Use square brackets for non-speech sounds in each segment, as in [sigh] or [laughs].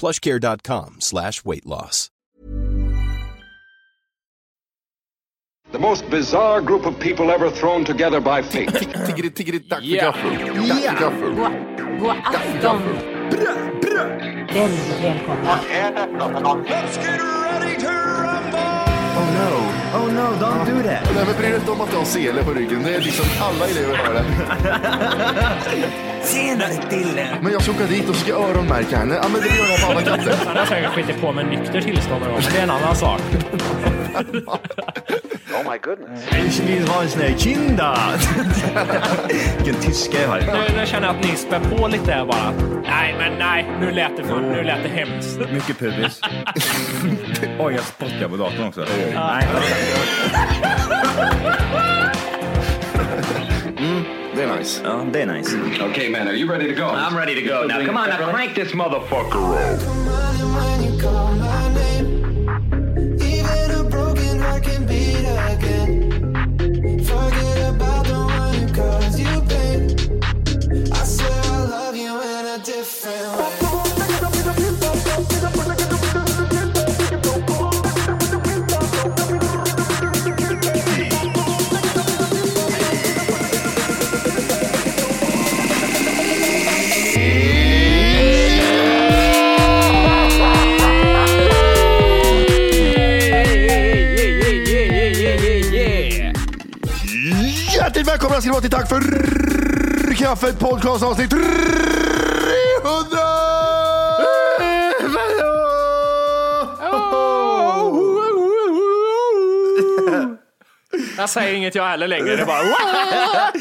plushcare.com slash weight loss. The most bizarre group of people ever thrown together by fate. Tiggeri, tiggeri, dack för Ja. gaffel. Dack för gaffel. God, god afton! Väldigt välkomna. Oh no, oh no, don't do that. Nej, men bry dig inte om att du har sele på ryggen. Det är liksom alla elever har det. Senare Dille. Men jag ska åka dit och ska öronmärka henne. Ja, men det gör jag på alla katter. Han har säkert skitit på med nykter tillstånd någon gång, men det är en annan sak. Ich will ha en sån här [laughs] kinda. Vilken tyska jag har. Nu, nu känner jag att ni spär på lite här bara. Nej, men nej. Nu lät det, för, nu lät det hemskt. Mycket pubis. [laughs] Oj, jag spottar på datorn också. Nej, Det är nice. ja, det är nice. okay, man, are you ready to go? I'm ready to go. Now come on, now crank this motherfucker up. Hjärtligt välkomna ska ni vara till Tack för kaffet podcast avsnitt 300! Jag säger inget jag heller längre. Det är bara... "Wow!"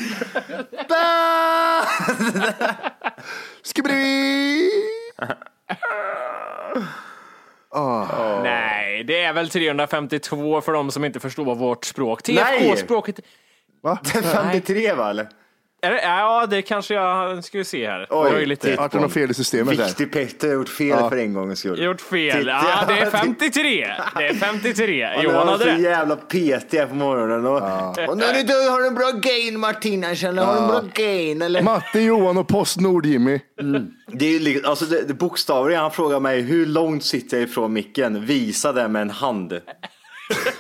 Skibri! Nej, det är väl 352 för de som inte förstår vårt språk. Nej. TFK-språket. Va? 53 va eller? Är det- Ja, det kanske jag... Ska vi se här. Oj, det var ju lite... titt. Vart det något fel i systemet där? Viktig Petter har gjort fel för en gångs skull. Gjort fel. Titta. Ja, [laughs] det är 53. Det är 53. Han har Johan varit hade så rätt. jävla petiga på morgonen. Och, och när du dör har du en bra gain Martina, känner Har du en bra gain eller? Matte, Johan och Postnord-Jimmy. Det är ju liksom- alltså det, det bokstavligen, han frågar mig hur långt sitter jag ifrån micken? Visa det med en hand.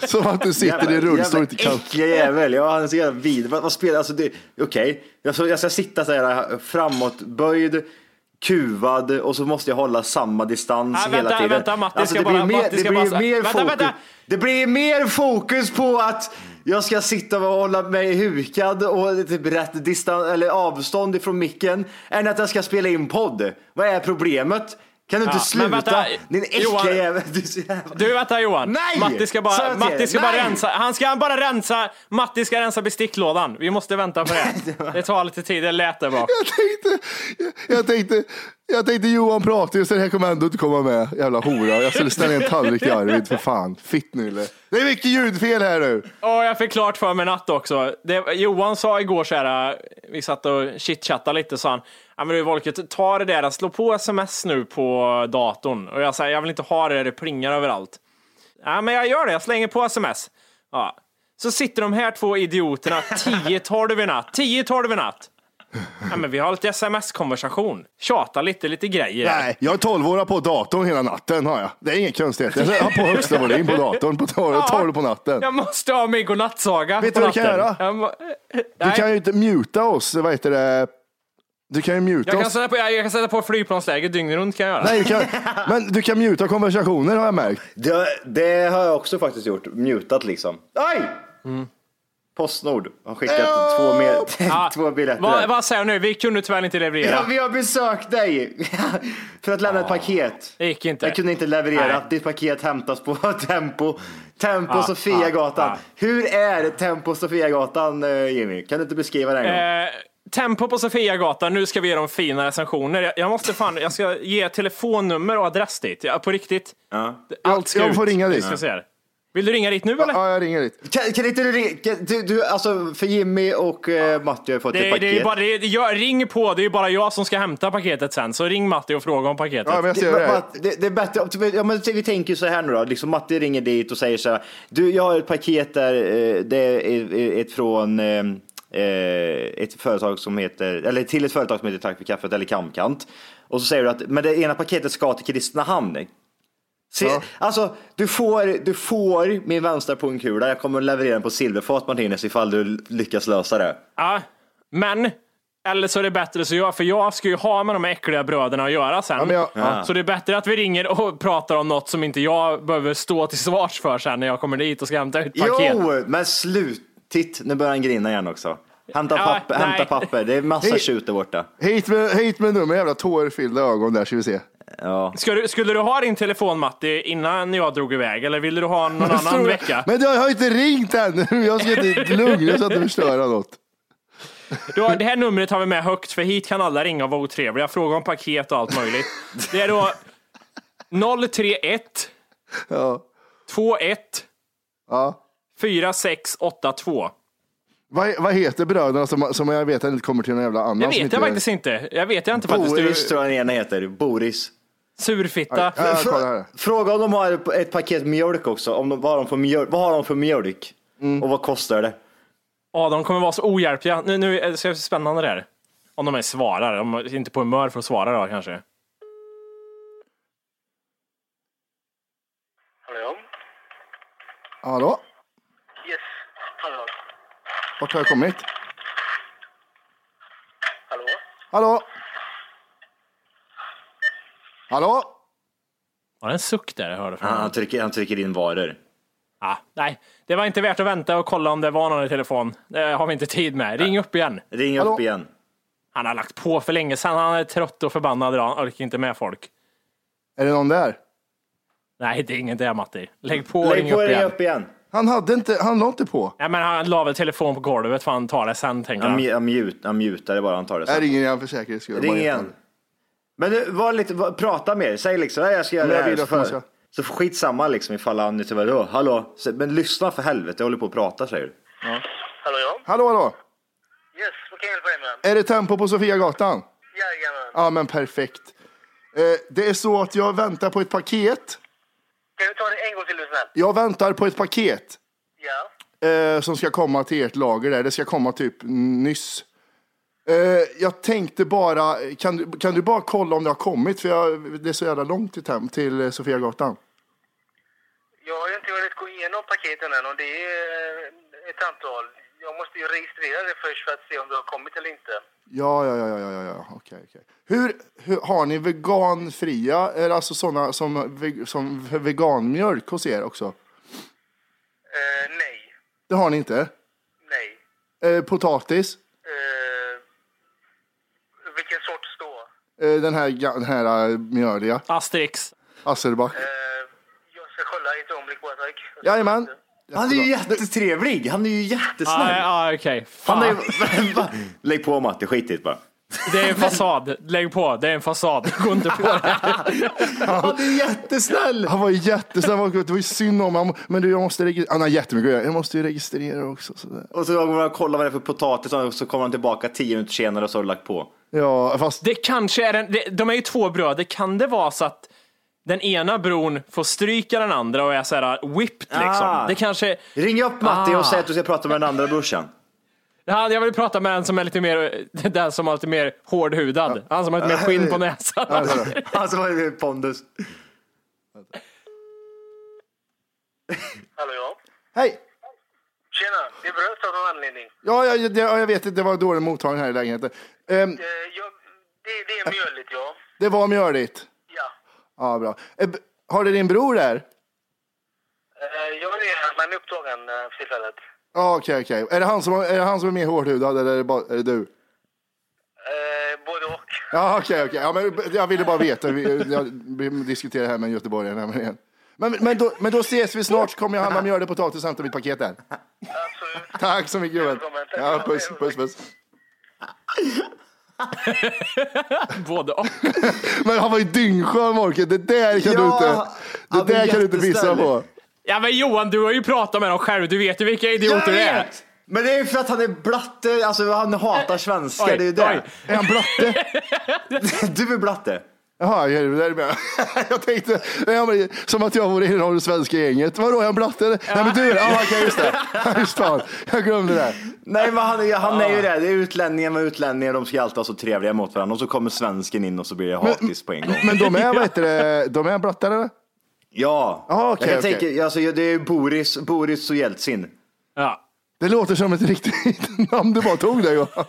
Som att du sitter i rullstol och inte kan... äckliga jävel. Ja, han är så jävla vid. Vad, vad spelar, alltså det, okej. Jag, ska- jag ska sitta så här eh, framåtböjd, kuvad och så måste jag hålla samma distans Nej, hela vänta, tiden. Alltså, vänta, Matti ska det bara- blir mer, Matti ska det blir bara- mer Vänta, fokus. vänta. Det blir mer fokus på att jag ska sitta och hålla mig hukad och typ rätt distans, eller avstånd ifrån micken än att jag ska spela in podd. Vad är problemet? Kan du inte Ja, sluta? men vänta, Din äckliga Johan. jävel. Du är så jävla- Du vänta Johan. Nej! Matti ska Sa bara, jag till Matti er? ska bara Nej! rensa. Han ska han bara rensa. Matti ska rensa besticklådan. Vi måste vänta [laughs] på det. Det tar lite tid. Det lät där bak. Jag tänkte, jag tänkte, jag tänkte Johan pratar ju så det här kommer ändå inte komma med. Jävla hora. Jag skulle ställa en tallrik i Arvid för fan. Fittnylle. Det är mycket ljudfel här nu. Och jag fick klart för mig natt också. Det, Johan sa igår så här, vi satt och chitchattade lite, sa han. Ja men du Volket, ta det där, slå på sms nu på datorn. Och jag sa, jag vill inte ha det där det plingar överallt. Ja men jag gör det, jag slänger på sms. Ja. Så sitter de här två idioterna tio tolv i natt, tio tolv i natt. Ja men vi har lite sms-konversation. Tjata lite, lite grejer. här. Nej, jag har tolvåra på datorn hela natten har jag. Det är inget konstigt. Jag har på högsta volym på datorn på tolv, tolv på natten. Jag måste ha min godnattsaga Vet på du vad du kan natten. göra? Jag må- Du kan ju inte muta oss, vad heter det? Du kan ju muta Jag kan oss. sätta på, jag jag kan sätta på flygplansläge dygnet runt kan jag göra. Nej, du kan, men du kan muta konversationer har jag märkt. Det, det har jag också faktiskt gjort. Mutat liksom. Aj! Postnord har skickat två, [laughs] med, Mm. Ja, Ah, två biljetter. Vad, vad säger jag nu? Vi kunde tyvärr inte leverera. Ja, vi har besökt dig [laughs] för att lämna ett paket. Det gick Ah, inte. Jag kunde inte leverera. Nej. Ditt paket hämtas på [laughs] Tempo, Tempo Ah, Sofiagatan. ah, ah. Hur är Tempo Sofiagatan eh, Jimmy? Kan du inte beskriva det en gång? Eh, tempo på Sofiagatan, nu ska vi ge dem fina recensioner. Jag, jag måste fan, jag ska ge telefonnummer och adress dit. Ja, på riktigt. Allt ska Jag- jag ut. får ringa dit. Vi Ska se här. Vill du ringa dit nu eller? Ja, jag ringer dit. Kan, kan inte du ringa? Kan, du, du, alltså för Jimmy och eh, Matti har ju fått ett Det, paket. det är ju bara, det är, jag, ring på, det är ju bara jag som ska hämta paketet sen. Så ring Matti och fråga om paketet. Ja, men jag Det, ser det. här. Matt, det, det är bättre, om- ja, men vi tänker så här nu då, liksom Matti ringer dit och säger så här, du jag har ett paket där, eh, det är är ett från eh, eh, ett företag som heter, eller till ett företag som heter Tack för kaffet eller Kamkant. Och så säger du att, men det ena paketet ska till Kristinehamn. Se, Ja. Alltså, du får, du får min vänstra pungkula, jag kommer att leverera den på silverfat Martinez ifall du lyckas lösa det. Ja, men, eller så är det bättre så jag, för jag ska ju ha med de äckliga bröderna att göra sen. men jag- ja. Så det är bättre att vi ringer och pratar om något som inte jag behöver stå till svars för sen när jag kommer dit och ska hämta ut paket. Jo, men slut! Titt, nu börjar han grina igen också. Hämta Ja, papper, nej. hämta papper. Det är massa tjut där borta. Hit med, hit med nummer, jävla tårfyllda ögon där ska vi se. [laughs] Ja. Ska du, skulle du ha din telefon Matti innan jag drog iväg eller ville du ha någon annan Stora- vecka? Men jag har inte ringt ännu. [laughs] Jag ska inte lugna så att du förstöra något. Du har, det här numret har vi med högt för hit kan alla ringa och vara otrevliga, fråga om paket och allt möjligt. Det är då 031 Ja. 21 Ja. 4682. Vad, vad heter bröderna som, som jag vet att inte kommer till någon jävla annan? Det som vet inte- jag faktiskt inte. Jag vet jag inte faktiskt. Du, Boris tror jag den ena heter. Boris. surfitta. äh, Ja, jag kollar här. Fråga om de har ett paket mjölk också. Om de, vad, har de för mjölk, vad har de för mjölk? Mm. Och vad kostar det? Ja, de kommer vara så ohjälpliga. Nu, nu är det så spännande det här. Om de är svarar. De är inte på humör för att svara då kanske. Hallå? Hallå? Yes. Hallå? Vart har jag kommit? Hallå? Hallå? Hallå? Var det en suck där jag hörde? Från Han, han, trycker, han trycker in varor. Ah, nej, det var inte värt att vänta och kolla om det var någon i telefon. Det har vi inte tid med. Ring upp igen. Ring Hallå? upp igen. Han har lagt på för länge sedan. Han är trött och förbannad idag. Han orkar inte med folk. Är det någon där? Nej, det är inget det Matti. Lägg på och Lägg ring på upp ring igen. upp igen. Han hade inte, han la inte på. Nej, men han la väl telefon på golvet för han tar det sen tänker Han, han. mju- han, mute, han mutar det bara. Han tar det Jag sen. ringer igen för säkerhets skull. Ring igen. Men du, var lite, var, prata mer. Säg liksom, "Nej, jag ska göra Men det jag här. vill Så, att man för, ska- så skitsamma liksom ifall han nu tyvärr, "Åh, hallå. Så- Men lyssna för helvete, jag håller på att prata säger du. Hallå ja? Hallå, hallå? Yes, vad kan jag hjälpa dig med? Är det tempo på Sofiagatan? Jajamän. Ja, men perfekt. Eh, det är så att jag väntar på ett paket. Kan du ta det en gång till är du snäll? Jag väntar på ett paket Ja. eh, som ska komma till ert lager där. Det ska komma typ nyss. Eh, jag tänkte bara, kan, du- kan du bara kolla om det har kommit? För jag, det är så jävla långt till, tem, till eh, Sofiagatan. Jag har ju inte hunnit gå igenom paketen än och det är eh, ett antal. Jag måste ju registrera det först för att se om du har kommit eller inte. Ja, ja, ja, ja, ja, ja, ja. okej, okej. Hur, hur, har ni veganfria, är det alltså sådana som, ve- som veganmjölk hos er också? Eh, nej. Det har ni inte? Nej. Eh, potatis? Eh, vilken sorts då? Eh, den här, ga- den här eh, mjöliga? Asterix. Hasselback? Eh, jag ska kolla i ett ögonblick bara tack. Jajamän. Han är ju jättetrevlig. Han är ju jättesnäll. Ah, ah, Okej, Han Fan, är [laughs] ju... Va? Lägg på Matti, skit i det bara. det är en fasad. Lägg på, det är en fasad. Gå inte på det. [laughs] Han är jättesnäll! Han var ju jättesnäll, han var- det var ju synd om honom. Men du, jag måste registrera. Han har jättemycket att göra. Jag måste ju registrera också. Så där. Och så går han och kollar vad det är för potatis och så kommer han tillbaka tio minuter senare och så har du lagt på. Ja, fast Det kanske är en, det, de är ju två bröder. Kan det vara så att den ena bron får stryka den andra och är så här whipped liksom? Ah. Det kanske... Ring upp Matti Ah. och säg att du ska prata med den andra brorsan. [laughs] Han, jag vill prata med en som är lite mer, [laughs] den som har lite mer hårdhudad. Han som har lite mer skinn på näsan. Alltså vad är det pondus? Hallå ja? hej! Tjena, det bröts av någon anledning. Ja, jag, det, ja, jag vet, det var dålig mottagning här i lägenheten. Ehm, Eh, jag, Det, det är mjöligt, ja. Det var mjöligt. ja. Ja, bra. Eh, b- Har du din bror där? Eh, Jag är här, men upptagen eh, för tillfället. Ja, okej, okej. Är det han som- är det han som är mer hårdhudad eller är det, bara, är det du? Eh, Både och. Ja, okej, okej. Ja, men jag ville bara veta. Vi, jag, vi diskuterar här med en göteborgare nämligen. Men, men, då, men då ses vi snart så kommer jag handla mjöl och potatis och hämta mitt paket där. Absolut. Tack så mycket gubben. Ja, puss, puss, puss. [laughs] Både och. Men han var ju dyngskön Morke, det där kan du Ja, inte, han det var där kan du inte pissa jättesnäll. på. Ja men Johan, du har ju pratat med dem själv. Du vet ju vilka idioter det är. Men det är ju för att han är blatte, alltså han hatar svenskar, Oj, det är ju det. oj. Är han blatte? [laughs] Du är blatte. Jaha, jag är det där med. [laughs] Jag tänkte, ja, men, som att jag vore i det svenska gänget. Vadå, är han blatte? eller? Nej men du är det. Ja, okej, just det. Ja, Just fan, jag glömde det. Nej men han, är- han är Ah. ju det, det är utlänningar med utlänningar, de ska alltid vara så trevliga mot varandra och så kommer svensken in och så blir det hatiskt på en gång. Men de är, vad heter det, de är blattar eller? Ja, Ah, Ja, okej, jag kan okej. tänka, alltså, det är ju Boris, Boris och Jeltsin. Ja. Det låter som ett riktigt [laughs] namn du bara tog där Johan.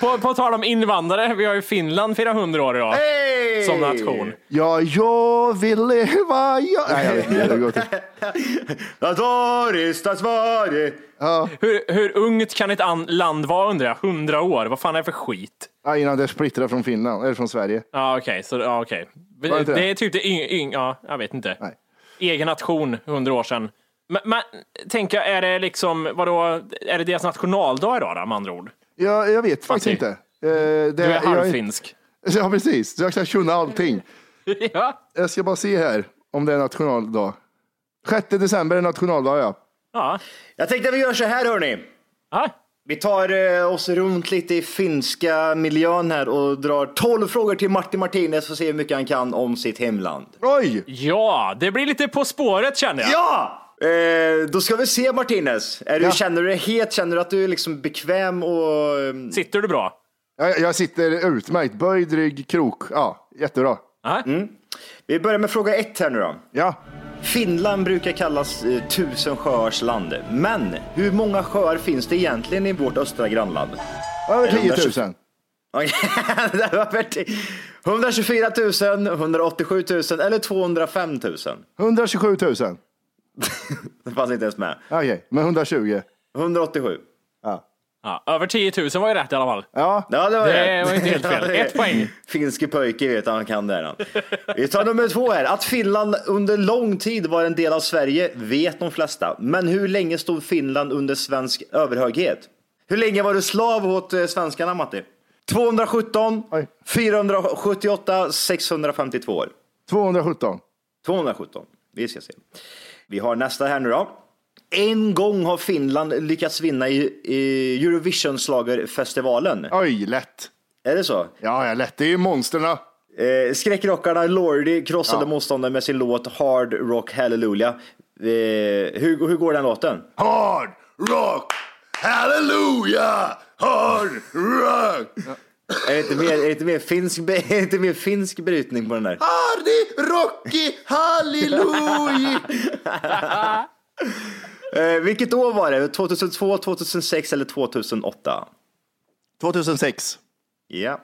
På, på tal om invandrare, vi har ju Finland 400 år idag. Hey! Som nation. Ja, jag vill leva, jag... Nej, jag vet inte. Det går till. Att Doris, Sverige. Hur, hur ungt kan ett an- land vara undrar jag? 100 år? Vad fan är det för skit? Ja, innan det splittrar från Finland, eller från Sverige. Ja okej, så ja, okej. Var det Det, inte det? är typ det yng, yng, ja, jag vet inte. Nej. Egen nation, 100 år sedan. Men, men tänk, jag, är det liksom, vadå, är det deras nationaldag idag då, med andra ord? Jag, jag vet faktiskt Matti. inte. Eh, det, Mm. Du är jag- halvfinsk. [laughs] Ja, precis. Så jag kan kunna allting. [laughs] Ja. Jag ska bara se här om det är nationaldag. 6 december är nationaldag, ja. Ja. Jag tänkte att vi gör så här hörni. ja. Vi tar eh, oss runt lite i finska miljön här och drar 12 frågor till Martin Martinez för att se hur mycket han kan om sitt hemland. Oj! Ja, det blir lite På spåret känner jag. Ja! Eh, då ska vi se Martinez. Är du, Ja. Känner du dig het? Känner du att du är liksom bekväm och... eh, Sitter du bra? Jag, jag sitter utmärkt. Böjd rygg, krok. Ja, jättebra. Ja. Vi börjar med fråga ett här nu då. Ja. Finland brukar kallas eh, tusen sjöars land. Men hur många sjöar finns det egentligen i vårt östra grannland? [laughs] Över Är det 10 000. 120? Okej, det var värt- 124 000, 187 000 eller 205 000. 127 000. Okej, Det fanns inte ens med. men 120. 187. Ja, över 10 000 var ju rätt i alla fall. Ja, Ja, det var Det rätt. var inte helt fel. [laughs] Ja, det- Ett poäng. Finske pojke vet han kan det. här, Han. Vi tar nummer två här. Att Finland under lång tid var en del av Sverige vet de flesta. Men hur länge stod Finland under svensk överhöghet? Hur länge var du slav åt eh, svenskarna, Matti? 217, Oj. 478, 652 år. 217. 217. Vi ska se. Vi har nästa här nu då. En gång har Finland lyckats vinna i, i Eurovision-slagerfestivalen. Oj, lätt. Är det så? Ja, ja, lätt. Det är ju monsterna. Eh, skräckrockarna Lordi krossade Ja. motståndaren med sin låt Hard Rock Hallelujah. Eh, hur, hur går den låten? Hard rock! Halleluja! Hard rock! Är det inte mer, är det inte mer, finsk, [laughs] är det inte mer finsk brytning på den där? Hardy, Rocky, halleluja! Eh, vilket år var det? 2002, 2006 eller 2008? 2006. Ja.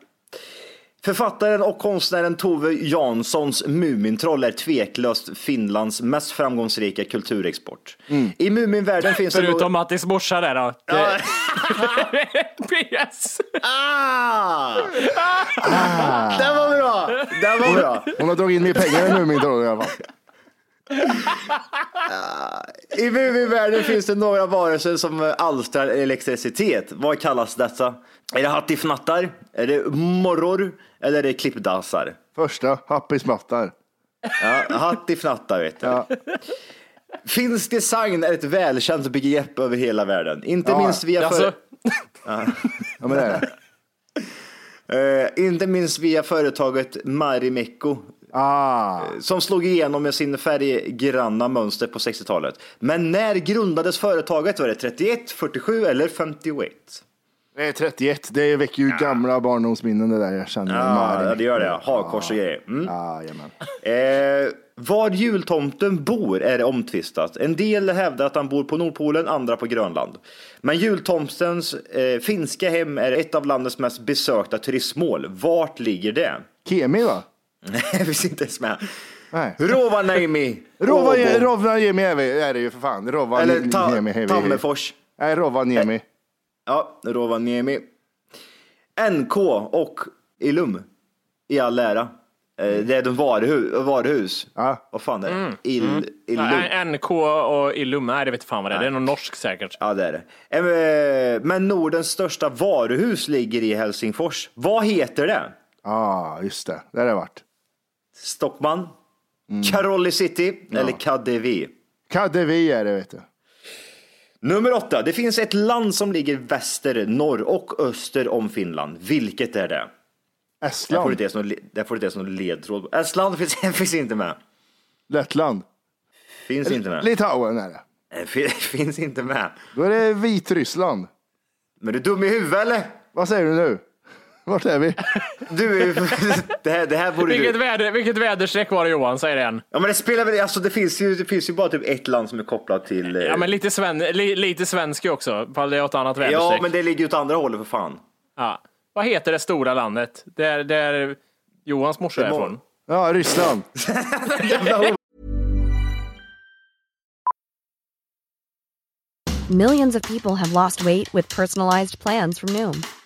Författaren och konstnären Tove Janssons Mumintroll är tveklöst Finlands mest framgångsrika kulturexport. I Muminvärlden finns det... Förutom Mattis morsa där då. [laughs] Det- PS. Ah! [laughs] Ah! Den var bra! Den var bra! Hon har dragit in mer pengar än nu min drog i alla fall. I Muminvärlden finns det några varelser som alstrar elektricitet. Vad kallas dessa? Är det hattifnattar? Är det morror? Eller är det klippdassar? Första, Happy Smattar. Ja, hattifnattar vet du. Ja. Finsk design är ett välkänt begrepp över hela världen. Inte Ja, minst via Alltså, för... Ja, men det är det. Eh, inte minst via företaget Marimekko Eh, Ah, som slog igenom med sin färggranna mönster på 60-talet. Men när grundades företaget? Var det 31, 47 eller 51? det är 31. Det väcker ju gamla barndomsminnen det där. Jag känner Ja, Marin. det gör det. ja. Hakkors och grejer. Mm. Ah, jajamän. Eh, Var jultomten bor är det omtvistat. En del hävdar att han bor på Nordpolen, andra på Grönland. Men jultomtens eh, finska hem är ett av landets mest besökta turistmål. Vart ligger det? [laughs] Kemi va? Nej, jag visste inte ens med. Nej. Rovaniemi. Rova- Åbo. Rovaniemi är vi- är det ju för fan. Eller ta- Rovaniemi. är vi- Tammerfors. Nej, Rovaniemi. Ja, Rovaniemi. NK och Ilum i all ära. Eh, Det är de varuhus. varuhus. Ja. Vad fan är det? Il, Illum. Mm. Nej, NK och Illum, nej det vet fan vad det är. Det är nog norsk säkert. Ja, det är det. Eh, Men Nordens största varuhus ligger i Helsingfors. Vad heter det? Ja, ah, just det. Där har det varit. Stockman? Mm. Karoli City eller Kadevi? Kadevi är det vet du. Nummer åtta. Det finns ett land som ligger väster, norr och öster om Finland. Vilket är det? Där får du Estland. inte ens någon, le- där får du inte ens någon ledtråd. Estland [laughs] finns, finns inte med. Lettland. Finns inte med. Litauen är det. Eh, fin- [laughs] Finns inte med. Då är det Vitryssland. Men du är dum i huvudet eller? Vad säger du nu? [laughs] Vart är vi? Du är ju... [laughs] det, här, det här borde Vilket, du... väder, vilket väderstreck var det Johan, säger en. Ja men det spelar väl... Alltså det finns ju, det finns ju bara typ ett land som är kopplat till... eh, Ja men lite, sven, li, lite svensk ju också, ifall det är åt annat väderstreck. ja men det ligger ju åt andra hållet för fan. Ja. Vad heter det stora landet? Där, där Johans morsa är må- från. Ja, Ryssland. Millions of people have lost weight with personalized plans from Noom,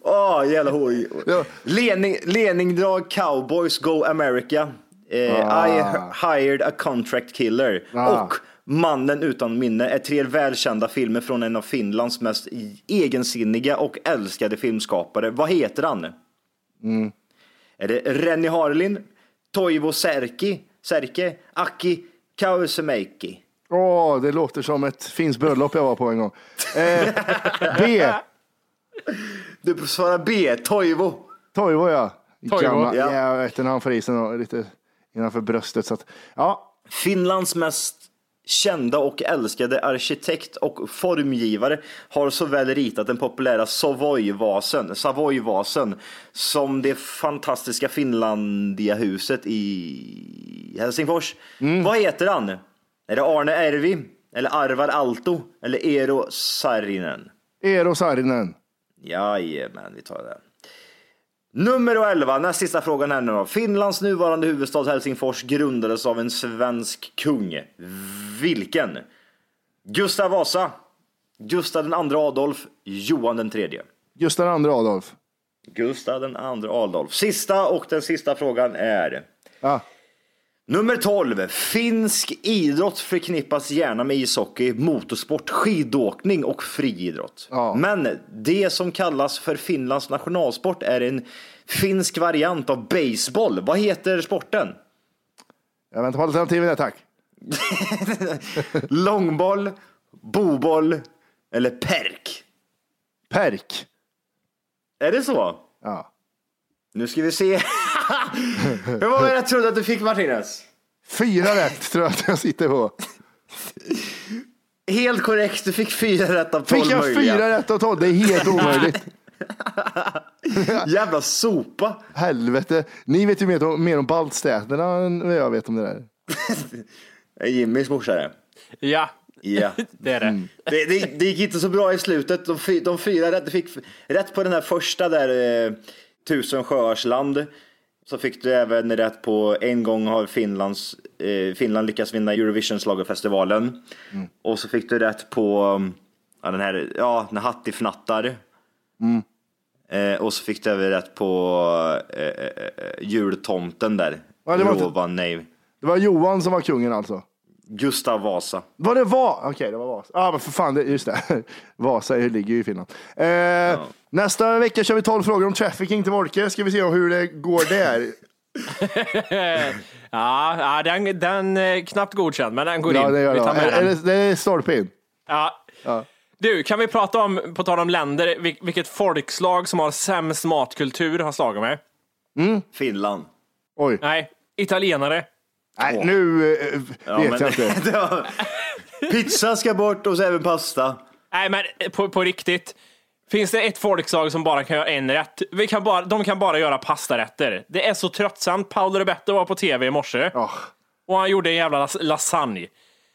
Åh Ah, jävla hoj. Ja. Lening, Leningdrag Cowboys Go America. Eh, Ah. I hired a contract killer. Ah. Och Mannen utan minne är tre välkända filmer från en av Finlands mest i- egensinniga och älskade filmskapare. Vad heter han? Är det Renny Harlin, Toivo Särki, Särke, Aki Kausimäki? Åh, det låter som ett finskt bröllop jag var på en gång. Eh, B. Du svarar B, Toivo. Toivo ja. Toivo, Gamla, ja. ja. Jag vet inte, han får i sig något lite innanför bröstet. Så att, ja, Finlands mest kända och älskade arkitekt och formgivare har såväl ritat den populära Savoyvasen, Savoyvasen som det fantastiska Finlandiahuset i Helsingfors. Vad heter han? Är det Arne Ervi? Eller Arvar Aalto? Eller Eero Saarinen? Eero Saarinen. Jajamän, vi tar det. Nummer 11, näst sista frågan här nu då. Finlands nuvarande huvudstad Helsingfors grundades av en svensk kung. Vilken? Gustav Vasa, Gustav den andra Adolf, Johan den tredje. Gustav II Adolf. Gustav den andra Adolf. Sista och den sista frågan är. Ja. Nummer 12. Finsk idrott förknippas gärna med ishockey, motorsport, skidåkning och friidrott. Ja. Men det som kallas för Finlands nationalsport är en finsk variant av baseball. Vad heter sporten? Jag väntar på alternativen där tack. Långboll, boboll eller perk? Perk. Är det så? Ja. Nu ska vi se. [laughs] Hur många rätt trodde att du fick Martinez? Fyra rätt tror jag att jag sitter på. Helt korrekt, du fick fyra rätt av tolv Fick jag möjliga. fyra rätt av tolv? Det är helt omöjligt. Jävla sopa. Helvete. Ni vet ju mer om, mer om baltstäderna än vad jag vet om det där. Det är Eh, Jimmys morsa det. Ja, Ja. det är det. Det, det, det gick inte så bra i slutet. De, fy, de fyra rätt, de fick f- rätt på den här första där, eh, Tusen sjöars land. Så fick du även rätt på en gång har Finlands, eh, Finland lyckats vinna Eurovisionsschlagerfestivalen. Mm. Och så fick du rätt på um, ja, den här, ja, när Hatti fnattar. Mm. Eh, och så fick du även rätt på eh, eh, eh, jultomten där. Ja, det var inte- Lovan, nej. Det var Johan som var kungen alltså. Gustav Vasa. Vad det var? Okej, det var Vasa. Ja, ah, men för fan, det, just det. [laughs] Vasa ligger ju i Finland. Eh, Nästa vecka kör vi 12 frågor om trafficking till Wolke. Ska vi se hur det går där. Ja, ja den, den är knappt godkänd, men den går ja, in. det gör vi tar jag. med Är, är den. det, det är stolpe in. Ja. Ja. Du, kan vi prata om, på tal om länder, vil- vilket folkslag som har sämst matkultur har slagit mig? Finland. Oj. Nej, italienare. Nej, nu eh, vet jag inte. [laughs] [laughs] det var- Pizza ska bort och så även pasta. Nej, men eh, på, på riktigt. Finns det ett folkslag som bara kan göra en rätt? Vi kan bara, de kan bara göra pastarätter. Det är så tröttsamt. Paolo Roberto var på tv i morse Ja. och han gjorde en jävla las- lasagne.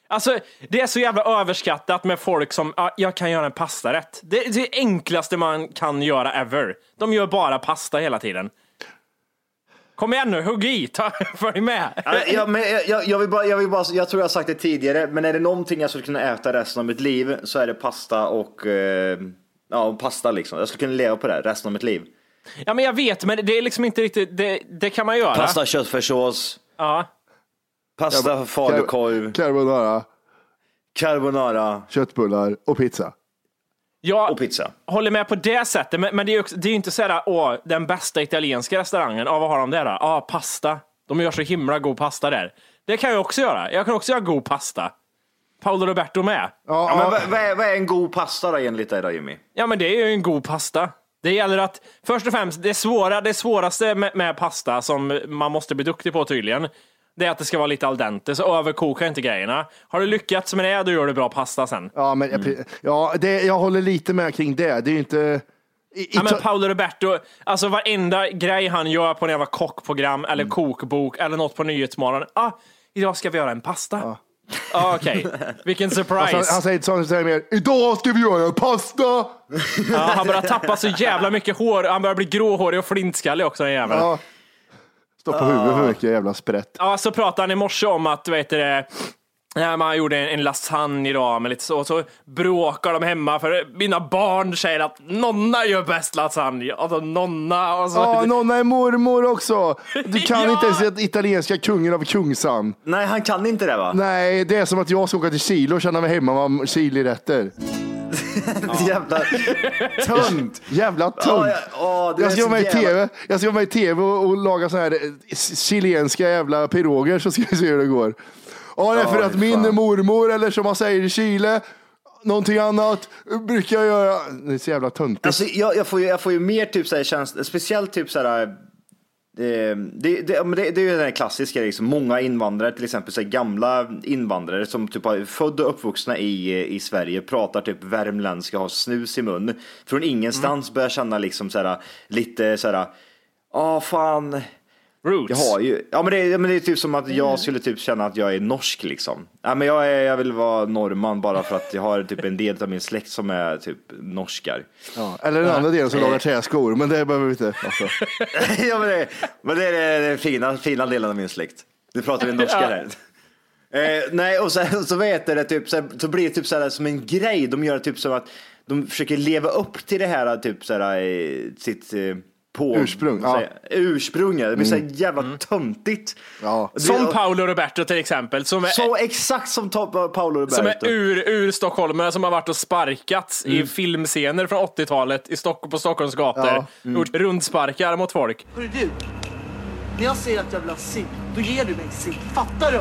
Alltså, det är så jävla överskattat med folk som, ah, jag kan göra en pastarätt. Det är det enklaste man kan göra ever. De gör bara pasta hela tiden. Kom igen nu, hugg i, ta, [laughs] följ med. Alltså, Ja, men jag, jag, jag, vill bara, jag, vill bara, jag tror jag har sagt det tidigare, men är det någonting jag skulle kunna äta resten av mitt liv så är det pasta och eh, ja, pasta liksom. Jag skulle kunna leva på det här resten av mitt liv. Ja, men jag vet, men det är liksom inte riktigt, det, det kan man göra. Pasta, köttfärssås, Ja. pasta, falukorv, Carbonara, carbonara köttbullar och pizza. Jag, och pizza. håller med på det sättet, men, men det är ju också- det är ju inte såhär, åh, den bästa italienska restaurangen, ah, vad har de där då? Ah, pasta. De gör så himla god pasta där. Det kan jag också göra. Jag kan också göra god pasta. Paolo Roberto med. Ja, Ja, men ja, vad, vad, är, vad är en god pasta då enligt dig då Jimmy? Ja, men det är ju en god pasta. Det gäller att, först och främst, det, svåra, det svåraste med, med pasta som man måste bli duktig på tydligen, det är att det ska vara lite al dente, så överkoka inte grejerna. Har du lyckats med det, då gör du bra pasta sen. ja, men, jag- Mm. ja det, jag håller lite med kring det. Det är ju inte... I, i, Ja, men Paolo Roberto, alltså varenda grej han gör på en jävla kockprogram eller kokbok eller något på Nyhetsmorgon. Ah, idag ska vi göra en pasta. Ja. Alltså, Ah, Okej, vilken surprise. han, han säger inte sånt, han säger mer, idag ska vi göra pasta! Ja, han börjar tappa så jävla mycket hår. Han börjar bli gråhårig och flintskallig också den jäveln. Ja. Ja. Stå Ah. på huvudet för mycket jävla sprätt. så pratade han i morse om att, vet du det, när man gjorde en, en lasagne idag med lite så, och så bråkar de hemma för mina barn säger att nonna gör bäst lasagne. Alltså nonna. Och så, Ja, någon är mormor också. Du kan Ja. inte ens den italienska kungen av Kungsan. Nej, han kan inte det va? Nej, det är som att jag ska åka till Chile och känna mig hemma med chilirätter. [laughs] [laughs] Jävla tönt. Jävla Ja, tunt. ja, ja, det är Jag ska så vara med i jävla- tv, jag ska vara med i TV och, och laga såna här eh, chilenska jävla piroger så ska vi se hur det går. Ja, det är för Ja, att fy min fan. mormor, eller som man säger i Chile, någonting annat, brukar göra... Det är så jävla töntigt. Alltså, jag, jag, får ju, jag får ju mer typ såhär känsla, speciellt typ såhär eh, det, det, ja, men det, det är ju den här klassiska, liksom, många invandrare, till exempel så här, gamla invandrare som typ har född och uppvuxna i, i Sverige, pratar typ värmländska, har snus i mun. Från ingenstans börjar känna liksom såhär, lite såhär, ja fan, roots. jag har ju, ja men det, är- ja, men det är typ som att jag skulle typ känna att jag är norsk liksom. Ja, men jag, är, jag vill vara norrman bara för att jag har typ en del av min släkt som är typ norskar. Ja, eller den andra delen som lagar träskor, men det behöver vi inte. Alltså. [laughs] ja, men det, men det är den fina, fina delen av min släkt. Nu pratar vi norska [laughs] Ja. här. Eh, nej, och sen så vet jag det, typ, så, här, så blir det typ så här, som en grej. De gör typ som att de försöker leva upp till det här, typ så här, eh, sitt eh, på, Ursprung, Mm. vad säger jag? Ursprung, ja. Det blir så här jävla töntigt. Ja. Det- Som och- Paolo Roberto till exempel, som är Så exakt som Ta- Paolo Roberto. Som är ur, ur stockholmare som har varit och sparkats i Mm. filmscener från 80-talet i Stock på Stockholms gator. Ja, Mm. Gjort rundsparkar mot folk. Hörru du, när jag säger att jag vill ha cigg, då ger du mig cigg. Fattar du?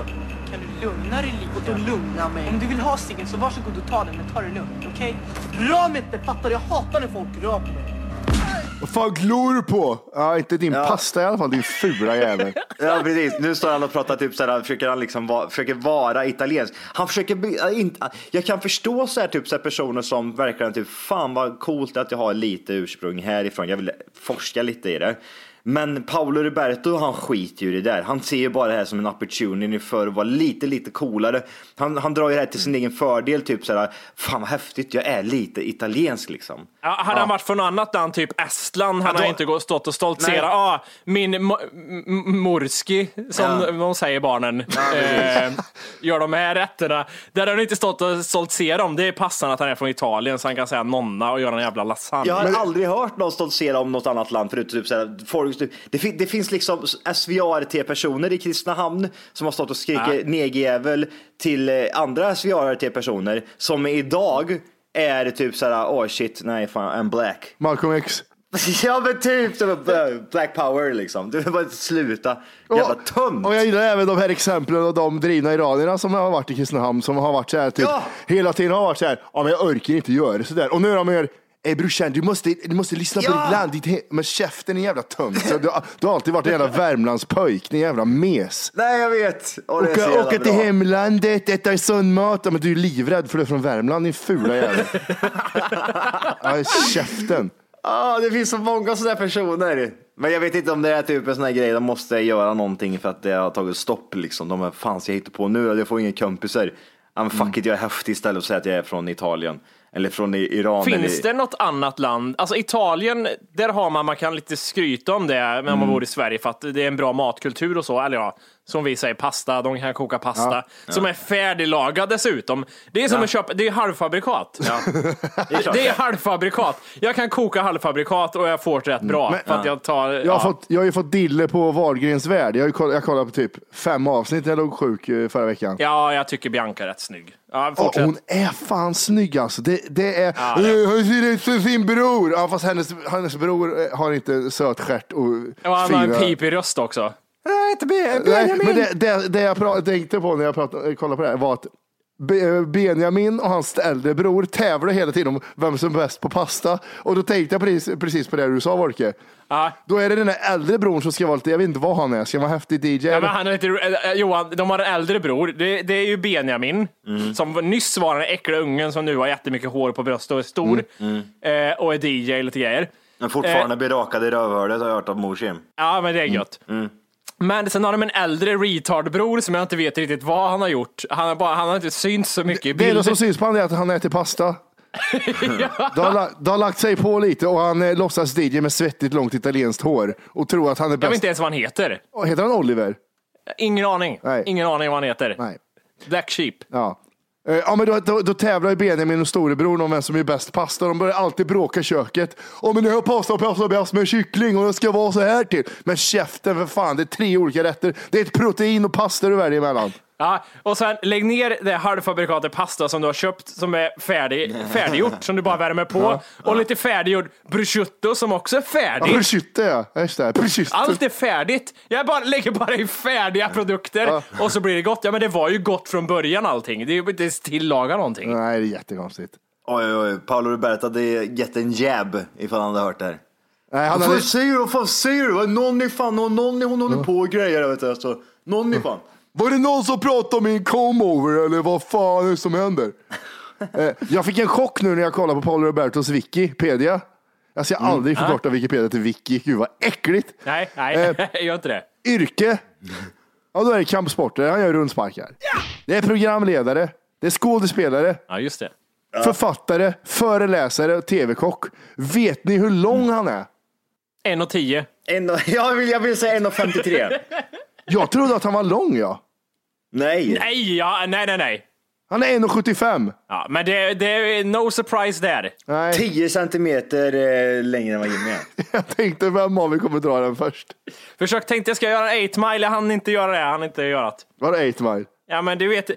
Kan du lugna dig lite? Och då lugna mig. Om du vill ha ciggen så varsågod och ta den, men ta det lugnt, okej? Rör mig inte, fattar du? Jag hatar när folk rör på mig. Vad fan glor du på? Ja, inte din pasta i alla fall, din fula [laughs] jävel. Ja precis, nu står han och pratar typ såhär, försöker han liksom vara, försöker vara italiensk. Han försöker, bli- äh, inte, jag kan förstå såhär typ såhär personer som verkligen typ fan vad coolt att jag har lite ursprung härifrån, jag vill forska lite i det. Men Paolo Roberto han skiter ju i det där. Han ser ju bara det här som en opportunity för att vara lite, lite coolare. Han, han drar ju det här till sin egen fördel, typ såhär, fan vad häftigt, jag är lite italiensk liksom. Ja, hade han varit från något annat land, typ Estland, hade då- han inte gå- stått och stoltserat. Nej. Ah, min mo- m- m- morski, som Ja. de säger barnen, eh, gör de här rätterna. Där hade han inte stått och stoltserat om. Det är passande att han är från Italien, så han kan säga nonna och göra en jävla lasagne. Jag har aldrig hört någon stoltsera om något annat land förutom typ såhär, folk, typ, det, fin, det finns liksom SVRT-personer i Kristinehamn som har stått och Ja. skrikit negjävel till eh, andra SVRT-personer som idag är typ såhär, oh shit, nej fan, I'm black. [laughs] Malcolm X. ja men typ, det var, eh, black power liksom. Du bara sluta, jävla tönt. Och jag gillar även de här exemplen och de drivna iranierna som har varit i Kristinehamn som har varit så här typ Ja! hela tiden har varit så här. Ja, men jag orkar inte göra det så där. Och nu är de mer. Ey brorsan, du måste, du måste lyssna på Ja! ditt land. Ditt he- men käften är jävla tönt. Så Du, har- du har alltid varit en jävla Värmlandspöjk, din jävla mes. Nej jag vet. Och det är Åka, så jävla åka till bra. hemlandet, äta sundmat. Ja, men du är livrädd för du är från Värmland, din fula [laughs] jävel. ja, käften. Ja, Ah, det finns så många sådana personer. Men jag vet inte om det är typ en sån här grej, de måste göra någonting för att det har tagit stopp liksom. De är fan ska jag hitta på nu, jag får inga kompisar. Ja, Mm. men fuck it, jag är häftig istället och säger att jag är från Italien. Eller från I- Iran. Finns eller... det något annat land? Alltså Italien, där har man, man kan lite skryta om det när Mm. man bor i Sverige för att det är en bra matkultur och så. Eller ja, som vi säger, pasta, de kan koka pasta. Som är färdiglagad dessutom. Det är som att köpa, det är halvfabrikat. [laughs] är klart Det är halvfabrikat. Jag kan koka halvfabrikat och jag får det rätt bra. Mm. Men- för att jag tar... Jag har, fått, jag har ju fått dille på Wahlgrens värld. Jag, har ju koll, jag kollade på typ fem avsnitt när jag låg sjuk eh, förra veckan. ja, jag tycker Bianca är rätt snygg. Ja, Ja, fortsätt. hon är fan snygg alltså. Det, det är, Ja, ja. Eh, hon ser ut som sin bror. Ja, fast hennes, hennes bror eh, har inte söt stjärt och Och han har en fina- pipig röst också. Nej, men det, det, det jag pra- tänkte på när jag pratade, kollade på det här var att Be- eh, Benjamin och hans äldre bror tävlar hela tiden om vem som är bäst på pasta. Och då tänkte jag precis, precis på det du sa Wolke. Ja. Då är det den där äldre brodern som ska vara lite, jag vet inte vad han är, ska han vara häftig DJ? Ja, men han är lite, eh, Johan, de har en äldre bror. Det, det är ju Benjamin, Mm. som nyss var den äckliga ungen som nu har jättemycket hår på bröstet och är stor. Mm, Eh, och är DJ och lite grejer. Men fortfarande Eh. blir rakad i rövhålet har jag hört av morsin. Ja, men det Mm, är gött. Men sen har de en äldre retardbror som jag inte vet riktigt vad han har gjort. Han, har bara, han har inte synts så mycket i det enda bilder. som syns på honom är att han äter pasta. Det har, la- det har lagt sig på lite och han eh, låtsas DJ med svettigt långt italienskt hår och tror att han är [laughs] Jag vet bäst. inte ens vad han heter. Heter han Oliver? Ingen aning. Nej. Ingen aning vad han heter. Nej. Black Sheep. Ja. Eh, Ja, men då, då, då tävlar ju Benjamin och storebror om vem som är bäst pasta. De börjar alltid bråka i köket. Åh, men nu har jag pasta, pasta bäst med kyckling och det ska vara så här till. Men käften för fan, det är tre olika rätter. Det är ett protein och pasta du väljer emellan. Ja, och sen lägg ner det halvfabrikatet pasta som du har köpt som är färdig, [laughs] färdiggjort som du bara värmer på. och lite färdiggjord prosciutto som också är Ja, färdig. prosciutto ja, just det. Prosciutto. Allt är färdigt. Jag bara, lägger bara i färdiga produkter Ja. och så blir det gott. Ja men det var ju gott från början allting. Det är ju inte ens tillaga någonting. Nej, det är jättekonstigt. Oj, oj, oj. Paolo Roberto hade gett en jab ifall han hade hört det här. Nej, han Vad hade... fan säger du? Vad säger du? Någon är fan, någon, någon hon håller på och grejer. Vet du. Alltså, någon är fan. Var det någon som pratade om min come-over eller vad fan är det som [laughs] händer? Eh, jag fick en chock nu när jag kollade på Paolo Robertos Wikipedia. Jag ska aldrig förkorta Wikipedia till Wiki. Gud vad äckligt. Mm. Nej, nej, Eh. [laughs] gör inte det. Yrke? Ja, då är det kampsportare. Han gör rundsparkar. Det är programledare. Det är skådespelare. Ja just det. Författare, föreläsare och tv-kock. Vet ni hur lång han är? En och tio. En, och- [laughs] jag, vill, jag vill säga [laughs] 1,53. Jag trodde att han var lång, ja. Nej. Nej, ja, nej, nej, nej. Han är 1,75. Ja, men det, det är no surprise där. Nej, 10 centimeter eh, längre än vad Jimmy är. jag tänkte vem av er kommer dra den först. Försök tänkte jag ska göra en 8 mile, jag hann inte göra det, jag hann inte göra det. Var det 8 mile? Ja men du vet, 8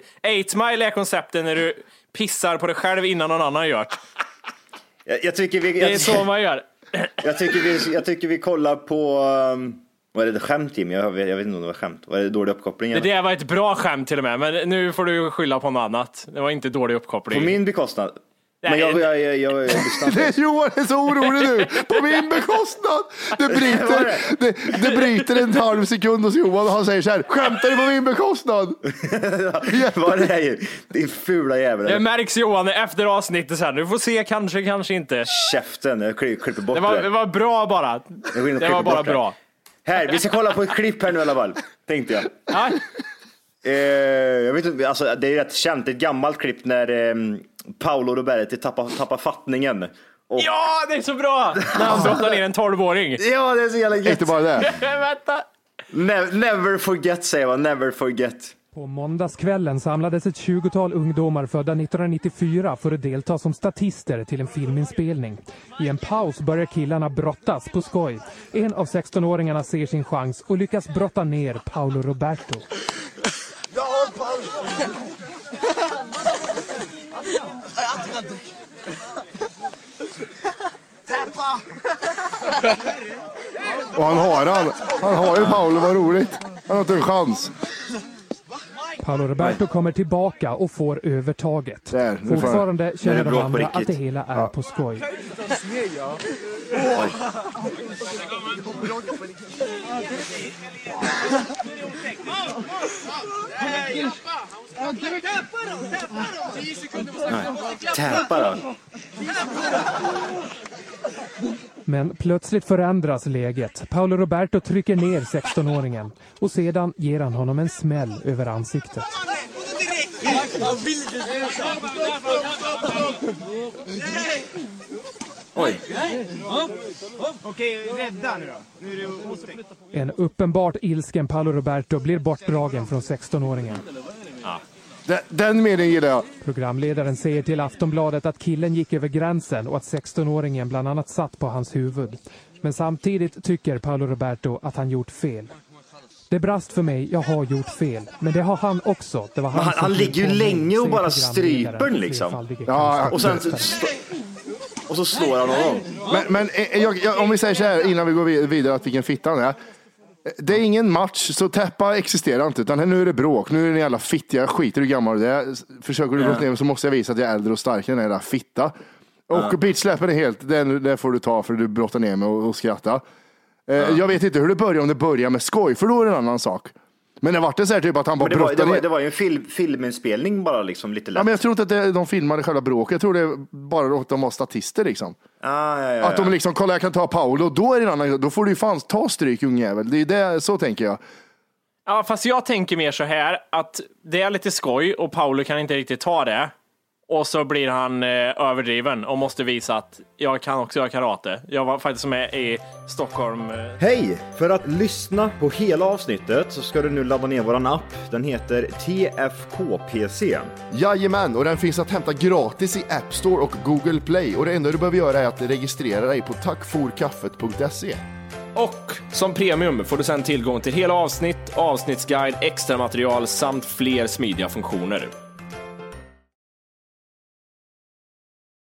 mile är konceptet när du pissar på dig själv innan någon annan gör det. Jag, jag, tycker vi, Det är jag, så man gör. jag, tycker vi, jag tycker vi kollar på... Um, vad är det skämt Jimmy? Jag, vet- jag vet inte om det var skämt. Vad är det dålig uppkoppling? Det eller? där var ett bra skämt till och med, men nu får du skylla på något annat. Det var inte dålig uppkoppling. På min bekostnad. Men Nej. jag, jag, jag, jag, jag lyssnar [laughs] Det är inte. Johan är så orolig nu, på min bekostnad. Det bryter, det, det bryter en halv sekund hos Johan och han säger så här, skämtar du på min bekostnad? Vad är det här Jimmy? Det är fula Det jävlar. märks Johan efter avsnittet sen. Du får se, kanske, kanske inte. Käften, jag kli- klipper bort Det det. var, det var bra bara. Jag går in och Det klipper var bara bort det. bra. Här, vi ska kolla på ett klipp här nu i alla fall. Tänkte jag. Eh, jag vet inte, alltså, det är rätt känt, det är ett gammalt klipp när eh, Paolo Roberti tappar, tappar fattningen. Och... Ja, det är så bra! När han brottar ner en 12-åring. [laughs] Ja, det är så jävla gött. Inte bara det. Vänta. Ne- never forget säger man, never forget. På måndagskvällen samlades ett 20-tal ungdomar födda 1994 för att delta som statister till en filminspelning. I en paus börjar killarna brottas på skoj. En av 16-åringarna ser sin chans och lyckas brotta ner Paolo Roberto. Jag har Paolo! Täppa! Och han har han. Han har ju Paolo, vad roligt. Han har inte en chans. Paolo Roberto kommer tillbaka och får övertaget. Där, nu får- Fortfarande Nu känner är det de bra på andra riktigt. att det hela är på skoj. Täpa då. Men plötsligt förändras läget. Paolo Roberto trycker ner 16-åringen och sedan ger han honom en smäll över ansiktet. Oj. Okej, rädda nu då. Nu är det ostängt. En uppenbart ilsken Paolo Roberto blir bortdragen från 16-åringen. Den, den meningen gillar jag. Programledaren säger till Aftonbladet att killen gick över gränsen och att 16-åringen bland annat satt på hans huvud. Men samtidigt tycker Paolo Roberto att han gjort fel. Det brast för mig, jag har gjort fel. Men det har han också. Det var Men han, han, som han kom ligger ju på mig, länge och säger bara stryper programledaren den, flerfaldiga liksom. Ja, och, sen, st- och så slår han honom. Men, men eh, jag, jag, om vi säger så här innan vi går vid- vidare, att vilken fitta han är. Det är ingen match, så täppa existerar inte. Utan här- nu är det bråk, nu är det en jävla fitta. Jag skiter i hur gammal du är. Försöker du Ja. brotta ner mig så måste jag visa att jag är äldre och starkare än den jävla fitta. Och Ja. bitchsläppen är helt, den, den får du ta för du brottar ner mig och, och skratta. Eh, Jag vet inte hur det börjar, om det börjar med skoj, för då är det en annan sak. Men det vart det så här typ att han bara Men det, var, det, brottade var, ner. det var ju en film, filminspelning bara liksom lite Ja, lätt. men jag tror inte att det, de filmade själva bråket, jag tror det bara att de var statister liksom. Ah, ja, ja, ja. Att de liksom, kolla jag kan ta Paolo, då är det en annan, då får du ju fan ta stryk ungjävel. Det är det, så tänker jag. Ja, fast jag tänker mer så här att det är lite skoj och Paolo kan inte riktigt ta det. Och så blir han eh, överdriven och måste visa att jag kan också göra karate. Jag var faktiskt med i Stockholm. eh, Hej! För att lyssna på hela avsnittet så ska du nu ladda ner våran app. Den heter TFKPC. Jajamän, och den finns att hämta gratis i App Store och Google Play. Och det enda du behöver göra är att registrera dig på tackforkaffet.se. Och som premium får du sedan tillgång till hela avsnitt, avsnittsguide, extra material samt fler smidiga funktioner.